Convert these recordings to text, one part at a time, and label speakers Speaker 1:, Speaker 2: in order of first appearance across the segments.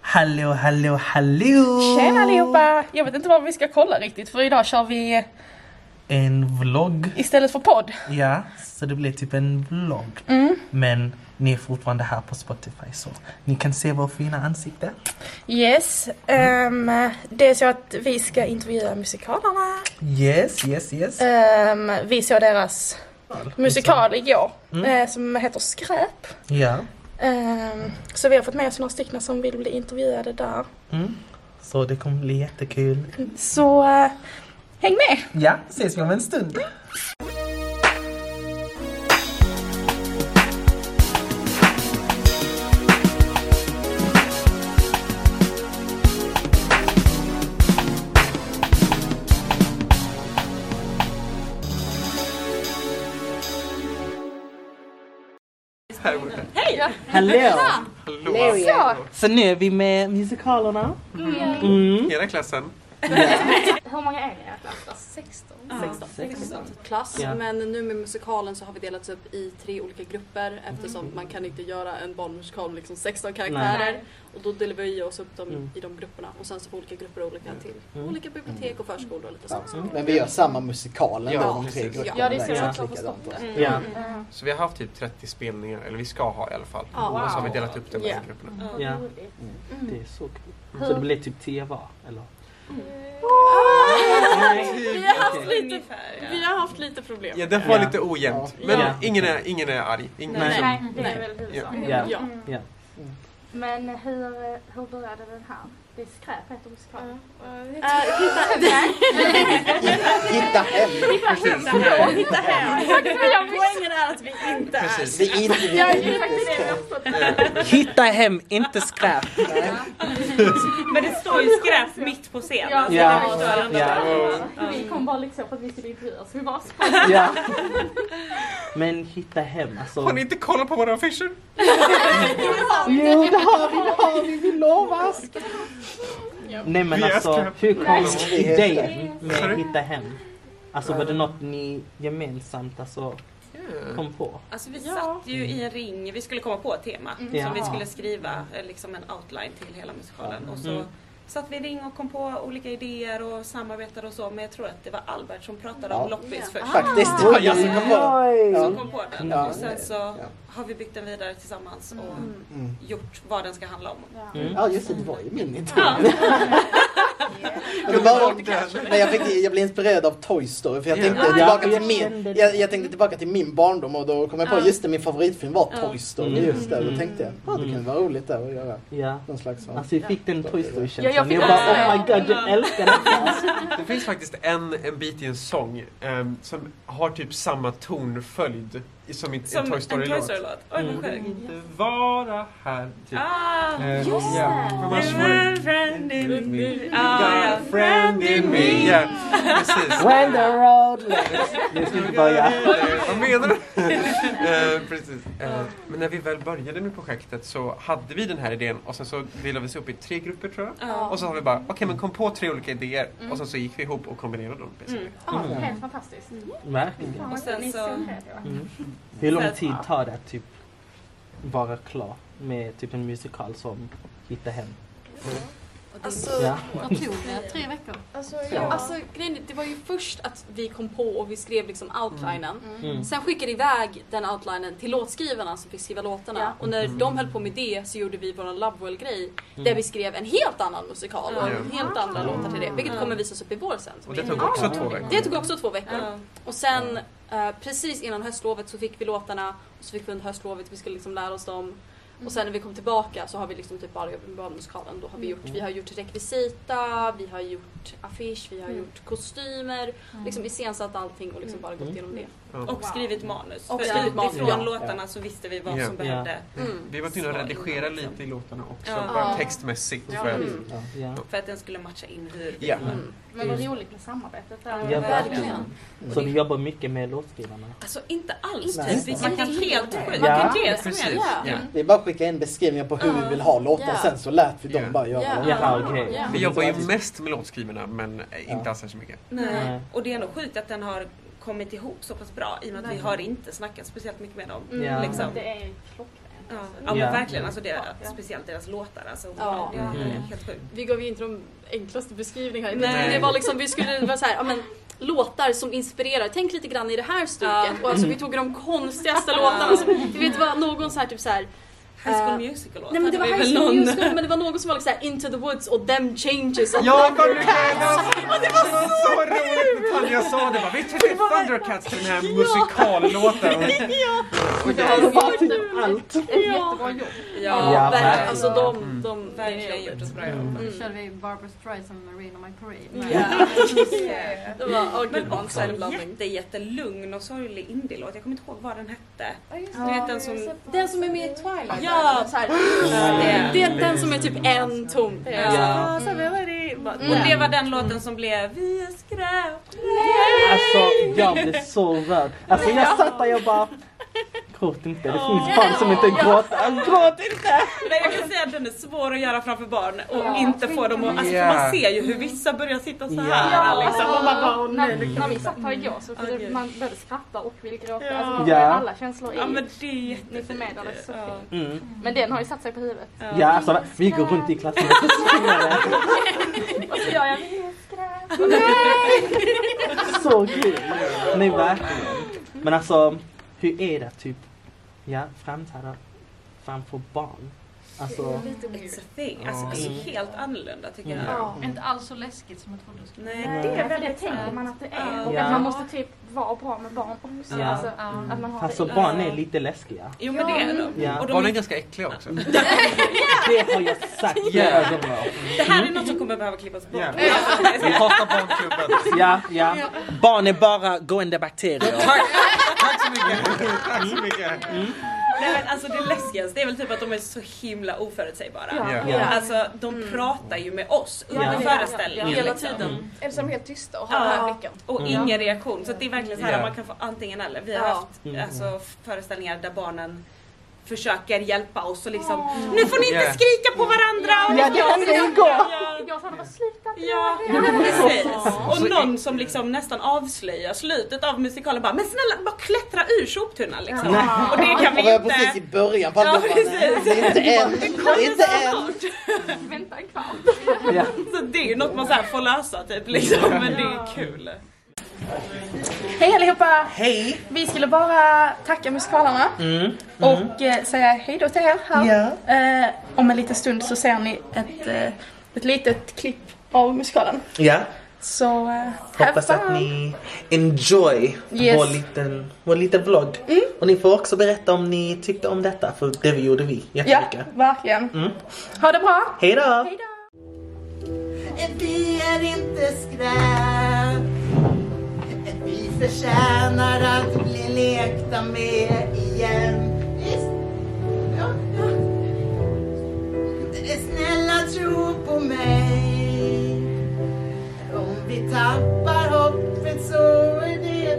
Speaker 1: Hallå, hallå, hallå!
Speaker 2: Tjena allihopa! Jag vet inte vad vi ska kolla riktigt för idag kör vi
Speaker 1: En vlogg.
Speaker 2: istället för podd.
Speaker 1: Ja, så det blir typ en vlogg.
Speaker 2: Mm.
Speaker 1: Men ni är fortfarande här på Spotify så ni kan se våra fina ansikte.
Speaker 2: Yes, ehm, det är så att vi ska intervjua musikalerna.
Speaker 1: Yes, yes, yes.
Speaker 2: Ehm, vi såg deras musikal igår
Speaker 1: Mm.
Speaker 2: eh, som heter Skräp.
Speaker 1: Ja.
Speaker 2: Ehm, så vi har fått med oss några stycken som vill bli intervjuade där.
Speaker 1: Mm. Så det kommer bli jättekul.
Speaker 2: Så eh, häng med!
Speaker 1: Ja, ses vi om en stund. Hallå! Så nu är vi med musikalerna. Mm.
Speaker 3: Hela klassen.
Speaker 4: Hur många är ni i Atlanta? 16.
Speaker 5: klass
Speaker 1: Ja.
Speaker 5: men nu med musikalen så har vi delats upp i tre olika grupper eftersom man kan inte göra en barnmusikal med liksom 16 karaktärer och då delar vi oss upp dem i de grupperna och sen så får olika grupper olika till olika bibliotek och förskolor och lite sånt.
Speaker 6: Men vi gör samma musikal ändå,
Speaker 3: Ja,
Speaker 6: de tre
Speaker 3: precis.
Speaker 6: grupperna.
Speaker 5: Ja,
Speaker 4: det ser jag
Speaker 6: exakt
Speaker 4: också på
Speaker 6: likadant.
Speaker 1: Ja.
Speaker 3: Så vi har haft typ 30 spelningar, eller vi ska ha i alla fall.
Speaker 5: Ja.
Speaker 3: Och så har vi delat upp det mellan
Speaker 5: Ja.
Speaker 3: grupperna.
Speaker 1: Ja.
Speaker 6: Mm.
Speaker 1: Det är så kul. Så det blir typ 10 var, eller?
Speaker 2: Mm. Ah!
Speaker 5: Vi har haft lite, vi har haft lite problem.
Speaker 3: Ja, det var
Speaker 1: Ja.
Speaker 3: lite ojämnt.
Speaker 6: Ja.
Speaker 3: Men
Speaker 1: Ja.
Speaker 3: ingen, är, ingen är arg. Ingen
Speaker 5: Nej.
Speaker 3: Som,
Speaker 4: Nej, det är väl huvudsaken.
Speaker 1: Ja.
Speaker 5: Ja.
Speaker 1: Ja.
Speaker 4: Men hur, eh, hur började den här? Det är skräp heter musikalen.
Speaker 5: Eh, hitta,
Speaker 6: Hitta hem!
Speaker 3: precis.
Speaker 5: poängen är att vi inte är
Speaker 3: precis.
Speaker 6: Vi är inte, vi är inte ska.
Speaker 1: Hitta hem, inte skräp.
Speaker 7: Men det står ju skräp mitt på scenen.
Speaker 1: Ja. Ja.
Speaker 3: Ja.
Speaker 4: Vi kom bara liksom för att vi skulle intervjua så vi bara sprang.
Speaker 1: ja. Men hitta hem alltså.
Speaker 3: Eh, Har ni inte kollat på våra affischer?
Speaker 1: Jo det har vi, det har vi, vi lovar. Nej men
Speaker 3: Vi är
Speaker 1: alltså
Speaker 3: skräp.
Speaker 1: hur kom
Speaker 6: Nej.
Speaker 1: idén med
Speaker 3: Sorry.
Speaker 1: hitta hem? Alltså var det något ni gemensamt alltså kom på?
Speaker 7: Alltså vi satt ju i en ring, vi skulle komma på ett tema
Speaker 1: Ja.
Speaker 7: som vi skulle skriva eh, liksom en outline till hela musikalen. Och så
Speaker 1: Mm.
Speaker 7: satt vi i ring och kom på olika idéer och samarbetade och så men jag tror att det var Albert som pratade om
Speaker 6: Ja. Ah.
Speaker 7: loppis först.
Speaker 6: Faktiskt, det var jag som kom på
Speaker 7: Som
Speaker 1: Oj!
Speaker 7: kom på den
Speaker 6: Ja.
Speaker 7: och sen så
Speaker 6: Ja.
Speaker 7: har vi byggt den vidare tillsammans och
Speaker 6: Mm.
Speaker 7: gjort vad den ska handla om.
Speaker 1: Mm.
Speaker 6: Ja just det, det var ju min idé. Och det var- Nej, jag, fick, jag blev inspirerad av Toy Story för jag
Speaker 3: Ja.
Speaker 6: tänkte,
Speaker 1: Ja,
Speaker 6: tillbaka,
Speaker 1: jag
Speaker 6: till min,
Speaker 1: kände det.
Speaker 6: jag, jag tänkte tillbaka till min barndom och då kom jag på just det, min favoritfilm var Toy Story
Speaker 1: Mm.
Speaker 6: just där. Då
Speaker 1: Mm.
Speaker 6: tänkte jag, ja det kan vara roligt där att göra
Speaker 1: Ja.
Speaker 6: någon slags sån.
Speaker 1: Alltså vi fick den Toy Story känslan.
Speaker 4: Ja, jag fick
Speaker 1: jag bara
Speaker 4: också det.
Speaker 1: oh my god jag älskar den.
Speaker 3: Det finns faktiskt en, en bit i en sång ehm, som har typ samma tonföljd i- som i i
Speaker 7: Som
Speaker 3: en Toy
Speaker 7: en Toy
Speaker 3: Story-låt.
Speaker 7: Story-låt. Oj vad sjukt.
Speaker 3: Inte vara här. Typ.
Speaker 7: Ah,
Speaker 3: Eh,
Speaker 4: just
Speaker 3: ja.
Speaker 4: det.
Speaker 3: För man
Speaker 7: you
Speaker 3: svor-
Speaker 7: were a friend in me.
Speaker 3: Got
Speaker 7: Ah,
Speaker 3: a friend in me. Ja, precis.
Speaker 1: When the road leads. Nu ska vi inte börja.
Speaker 3: Vad menar du? Eh, precis. Eh, men när vi väl började med projektet så hade vi den här idén och sen så delade vi oss upp i tre grupper tror jag.
Speaker 7: ja.
Speaker 3: Och så har vi bara, okej men kom på tre olika idéer och sen så gick vi ihop och kombinerade dem. basically.
Speaker 4: Ja, helt fantastiskt.
Speaker 1: Mm, Verkligen.
Speaker 4: Fan, vad
Speaker 7: Och sen
Speaker 4: ni
Speaker 7: så-
Speaker 4: såg det, va?
Speaker 1: Hur lång
Speaker 7: Sen-
Speaker 1: tid tar det att typ vara klar med typ en musikal som Hitta Hem?
Speaker 5: Alltså,
Speaker 1: Ja.
Speaker 5: vad tog det? Tre veckor? Alltså, alltså grejen är, det var ju först att vi kom på och vi skrev liksom outlinen.
Speaker 1: Mm.
Speaker 5: Sen skickade vi iväg den outlinen till låtskrivarna som fick skriva låtarna.
Speaker 4: Ja.
Speaker 5: Och
Speaker 3: Mm.
Speaker 5: när de höll på med det så gjorde vi vår Lovewell-grej där vi skrev en helt annan musikal och en helt andra låtar till det. Vilket kommer visas upp i vår sen.
Speaker 3: Och det tog också två veckor.
Speaker 5: Det tog också två veckor.
Speaker 7: Ja.
Speaker 5: Och sen eh, precis innan höstlovet så fick vi låtarna och så fick vi under höstlovet, vi skulle liksom lära oss dem. Och sen när vi kom tillbaka så har vi liksom typ bara jobbat med barnmusikalen. Då har vi, gjort, vi har gjort rekvisita, vi har gjort affisch, vi har gjort kostymer. Liksom iscensatt allting och liksom bara gått igenom
Speaker 3: Mm.
Speaker 5: det.
Speaker 7: Och skrivit manus.
Speaker 5: Och
Speaker 7: För
Speaker 5: skrivit manus,
Speaker 7: utifrån
Speaker 5: ja.
Speaker 7: låtarna så visste vi vad
Speaker 3: Ja.
Speaker 7: som behövde.
Speaker 3: Mm. Vi var tvungna att redigera lite i låtarna också,
Speaker 7: Ja.
Speaker 3: bara textmässigt. För
Speaker 5: Mm.
Speaker 3: att,
Speaker 1: Mm. Ja.
Speaker 7: För att den skulle matcha in hur
Speaker 3: ja.
Speaker 4: mm. Men vad roligt med samarbetet. där. liksom-
Speaker 1: Ja,
Speaker 5: Verkligen.
Speaker 1: Så ni jobbar mycket med låtskrivarna?
Speaker 7: Alltså inte alls
Speaker 6: Nej.
Speaker 7: typ. Vilket helt sjukt.
Speaker 1: Ja.
Speaker 7: Man kan det som
Speaker 3: Precis.
Speaker 7: helst.
Speaker 5: Ja.
Speaker 3: Ja.
Speaker 6: Det är bara att skicka in beskrivningar på hur vi vill ha låtar
Speaker 5: Ja.
Speaker 6: sen så lät vi
Speaker 3: Ja.
Speaker 6: dem bara göra
Speaker 5: Ja.
Speaker 6: dem.
Speaker 1: Ja, okej.
Speaker 5: Ja.
Speaker 3: Vi jobbar ju mest med låtskrivarna men eh, inte
Speaker 6: Ja.
Speaker 3: alls särskilt mycket.
Speaker 7: Nej.
Speaker 1: Nej.
Speaker 7: Och det är nog sjukt att den har kommit ihop så pass bra i och med att vi har inte snackat speciellt mycket med dem.
Speaker 1: Ja.
Speaker 7: Liksom.
Speaker 4: Det är klockrent.
Speaker 7: Ja,
Speaker 5: Alltså.
Speaker 7: ja
Speaker 1: Ja.
Speaker 7: men verkligen. Alltså det,
Speaker 5: Ja.
Speaker 7: speciellt deras låtar. Alltså,
Speaker 5: Ja.
Speaker 7: det är
Speaker 3: Mm.
Speaker 7: helt sjukt.
Speaker 5: Vi gav ju inte de enklaste beskrivningarna.
Speaker 7: Nej.
Speaker 5: Det var liksom, vi skulle vara så här, ja, men, låtar som inspirerar. Tänk lite grann i det här stuket.
Speaker 7: Ja.
Speaker 5: Och alltså, vi tog de konstigaste
Speaker 7: Ja.
Speaker 5: låtarna. Som, du vet vad någon så här, typ så här,
Speaker 7: High School
Speaker 5: Eh,
Speaker 7: Musical låtar.
Speaker 5: Nej men det var
Speaker 7: är
Speaker 5: High
Speaker 7: väl
Speaker 5: School
Speaker 7: någon-
Speaker 5: Musical men det var någon som var liksom såhär Into the Woods och Them Changes och
Speaker 3: Ja, Thundercats! Det var så roligt! Tanja sa det bara, vi träffade Thundercats till den här musikallåten.
Speaker 5: och det
Speaker 6: Det
Speaker 5: var
Speaker 6: var typ allt.
Speaker 4: Ett jättebra jobb.
Speaker 5: Ja,
Speaker 1: Ja,
Speaker 5: verkligen.
Speaker 1: verkligen.
Speaker 5: Alltså de,
Speaker 3: Mm.
Speaker 5: de, det är
Speaker 7: Verkligen
Speaker 5: jobbigt.
Speaker 7: gjort ett bra jobb.
Speaker 4: Då körde vi Barbra Streisand med Rain on My Parade. Men-
Speaker 5: Ja.
Speaker 7: Yeah.
Speaker 5: Det var, åh gud
Speaker 7: Men
Speaker 5: vad en
Speaker 7: också
Speaker 5: sorglig
Speaker 7: en
Speaker 5: blandning.
Speaker 7: jätte, jättelugn och sorglig indielåt. Jag kommer inte ihåg vad den hette.
Speaker 4: Ja,
Speaker 7: Du vet den som-
Speaker 5: Den som är med i Twilight.
Speaker 7: Ja.
Speaker 5: Ja! Så här, eh,
Speaker 7: Mm.
Speaker 5: det är den som är typ en tom.
Speaker 7: Ja.
Speaker 5: Ja.
Speaker 7: Så vi var det-
Speaker 5: Mm.
Speaker 7: Och det var den låten som blev Vi är skräp.
Speaker 1: Alltså jag blev så rörd. Alltså jag satt där jag bara Gråt inte, det finns barn som inte gråter. Gråt inte!
Speaker 7: Nej, jag kan säga att den är svår att göra framför barn och
Speaker 4: Ja.
Speaker 7: inte få dem att... Alltså, för
Speaker 3: Ja.
Speaker 7: man ser ju hur vissa börjar sitta så här.
Speaker 1: Ja.
Speaker 7: Liksom, och man bara, "Åh, nej.
Speaker 4: när, när vi satt här igår så
Speaker 7: Åh,
Speaker 4: kunde
Speaker 7: gud.
Speaker 4: man både skratta och vill gråta.
Speaker 7: Ja.
Speaker 4: Alltså, man får ju
Speaker 1: Ja.
Speaker 4: alla känslor i.
Speaker 7: Ja men det är jätte-
Speaker 4: Ni förmedlade det så
Speaker 7: Ja.
Speaker 4: fint.
Speaker 1: Mm.
Speaker 4: Men den har ju satt sig på huvudet.
Speaker 1: Ja alltså vi går runt i klassen och sjunger
Speaker 4: Och så gör Alltså, jag vinskräp.
Speaker 1: det. Så kul! Nej verkligen. Men alltså hur är det typ ja, framträda framför barn? Alltså
Speaker 4: Mm,
Speaker 7: It's a thing. Alltså det
Speaker 1: Mm.
Speaker 7: är helt annorlunda tycker jag.
Speaker 3: Ja.
Speaker 8: Inte alls så läskigt som jag trodde det skulle
Speaker 7: Nej,
Speaker 1: Nej.
Speaker 7: det är
Speaker 4: För det
Speaker 7: väldigt
Speaker 4: tänker
Speaker 7: sant.
Speaker 4: man att det är.
Speaker 7: Ja.
Speaker 4: Och
Speaker 1: Ja.
Speaker 4: att man måste typ vara bra med barn också.
Speaker 1: Ja.
Speaker 4: Alltså,
Speaker 8: vara.
Speaker 4: att man har
Speaker 1: fast så
Speaker 4: det.
Speaker 1: barn är lite läskiga.
Speaker 7: Jo men det är de.
Speaker 1: Ja.
Speaker 7: Och
Speaker 3: Barnen är
Speaker 7: de
Speaker 3: ganska äckliga också.
Speaker 1: Det har jag sagt flera gånger.
Speaker 7: det här är något som kommer behöva klippas bort.
Speaker 3: Ja. Vi hatar barnklubben.
Speaker 1: Ja, ja. Barn är bara gående bakterier.
Speaker 3: Tack, tack så mycket. Tack så mycket.
Speaker 7: Nej, men alltså det läskigaste är väl typ att de är så himla oförutsägbara.
Speaker 4: Ja.
Speaker 3: Ja.
Speaker 1: Ja.
Speaker 7: Alltså de pratar ju med oss under
Speaker 1: Ja.
Speaker 7: föreställningen.
Speaker 1: Ja.
Speaker 7: Hela
Speaker 5: Hela
Speaker 7: tiden.
Speaker 5: tiden.
Speaker 2: Eller så är de helt tysta och har den här
Speaker 7: Ja.
Speaker 2: blicken.
Speaker 7: Och
Speaker 1: Mm.
Speaker 7: ingen reaktion. Så att det är verkligen så här
Speaker 3: Ja.
Speaker 7: man kan få antingen eller. Vi har
Speaker 5: Ja.
Speaker 7: haft
Speaker 1: Mm.
Speaker 7: alltså, föreställningar där barnen försöker hjälpa oss och liksom Nu får ni inte
Speaker 3: Ja.
Speaker 7: skrika på varandra!
Speaker 1: Ja, det hände igår!
Speaker 7: Ja.
Speaker 4: Jag sa det var sluta
Speaker 7: Ja, precis. Och någon som liksom nästan avslöjar slutet av musikalen bara Men snälla, bara klättra ur soptunnan liksom. Och det kan
Speaker 6: Och
Speaker 7: vi
Speaker 6: vi är precis i
Speaker 7: inte...
Speaker 6: början på
Speaker 7: Ja,
Speaker 6: albumet.
Speaker 7: precis.
Speaker 6: Det är inte än. Det är inte än.
Speaker 4: vänta en kvart.
Speaker 1: Ja.
Speaker 7: Så det är ju något man så här får lösa typ liksom. Men det är kul.
Speaker 2: Hej allihopa!
Speaker 1: Hej!
Speaker 2: Vi skulle bara tacka musikalerna
Speaker 1: Mm.
Speaker 2: och eh, säga hej då till er här.
Speaker 1: Ja.
Speaker 2: Eh, om en liten stund så ser ni ett, eh, ett litet klipp av musikalen.
Speaker 1: Ja,
Speaker 2: Så eh,
Speaker 1: hoppas
Speaker 2: have
Speaker 1: att
Speaker 2: fun.
Speaker 1: ni enjoy
Speaker 2: Yes. Mm.
Speaker 1: vår, liten, vår liten vlogg. Och ni får också berätta om ni tyckte om detta, för det vi gjorde vi
Speaker 2: Ja,
Speaker 1: jättemycket.
Speaker 2: verkligen.
Speaker 1: Mm.
Speaker 2: Ha det bra!
Speaker 1: Hej då!
Speaker 2: Hej då!
Speaker 9: Vi är inte skräp Vi förtjänar att bli lekta med igen Visst? Ja, ja. Snälla tro på mig Om vi tappar hoppet så är det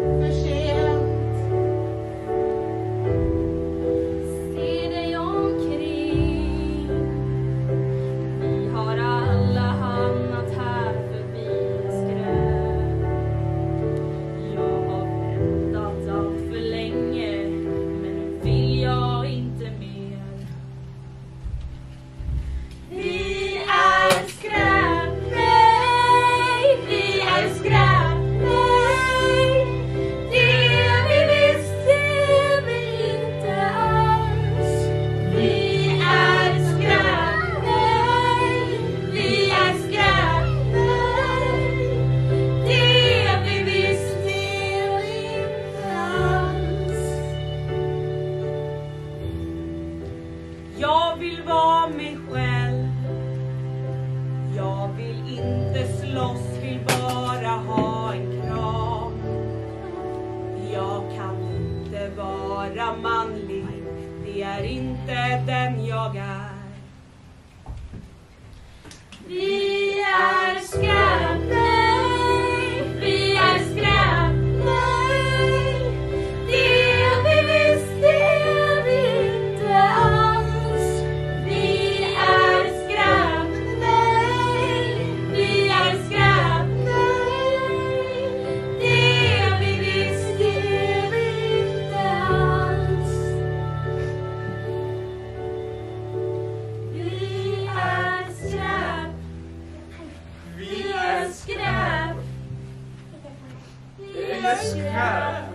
Speaker 9: för sent
Speaker 4: Se dig omkring Vi har alla hamnat här förbi skräp Jag har väntat allt för länge Men nu vill jag inte mer Vi är skräp, nej Vi är skräp, nej er
Speaker 3: Anders Skär.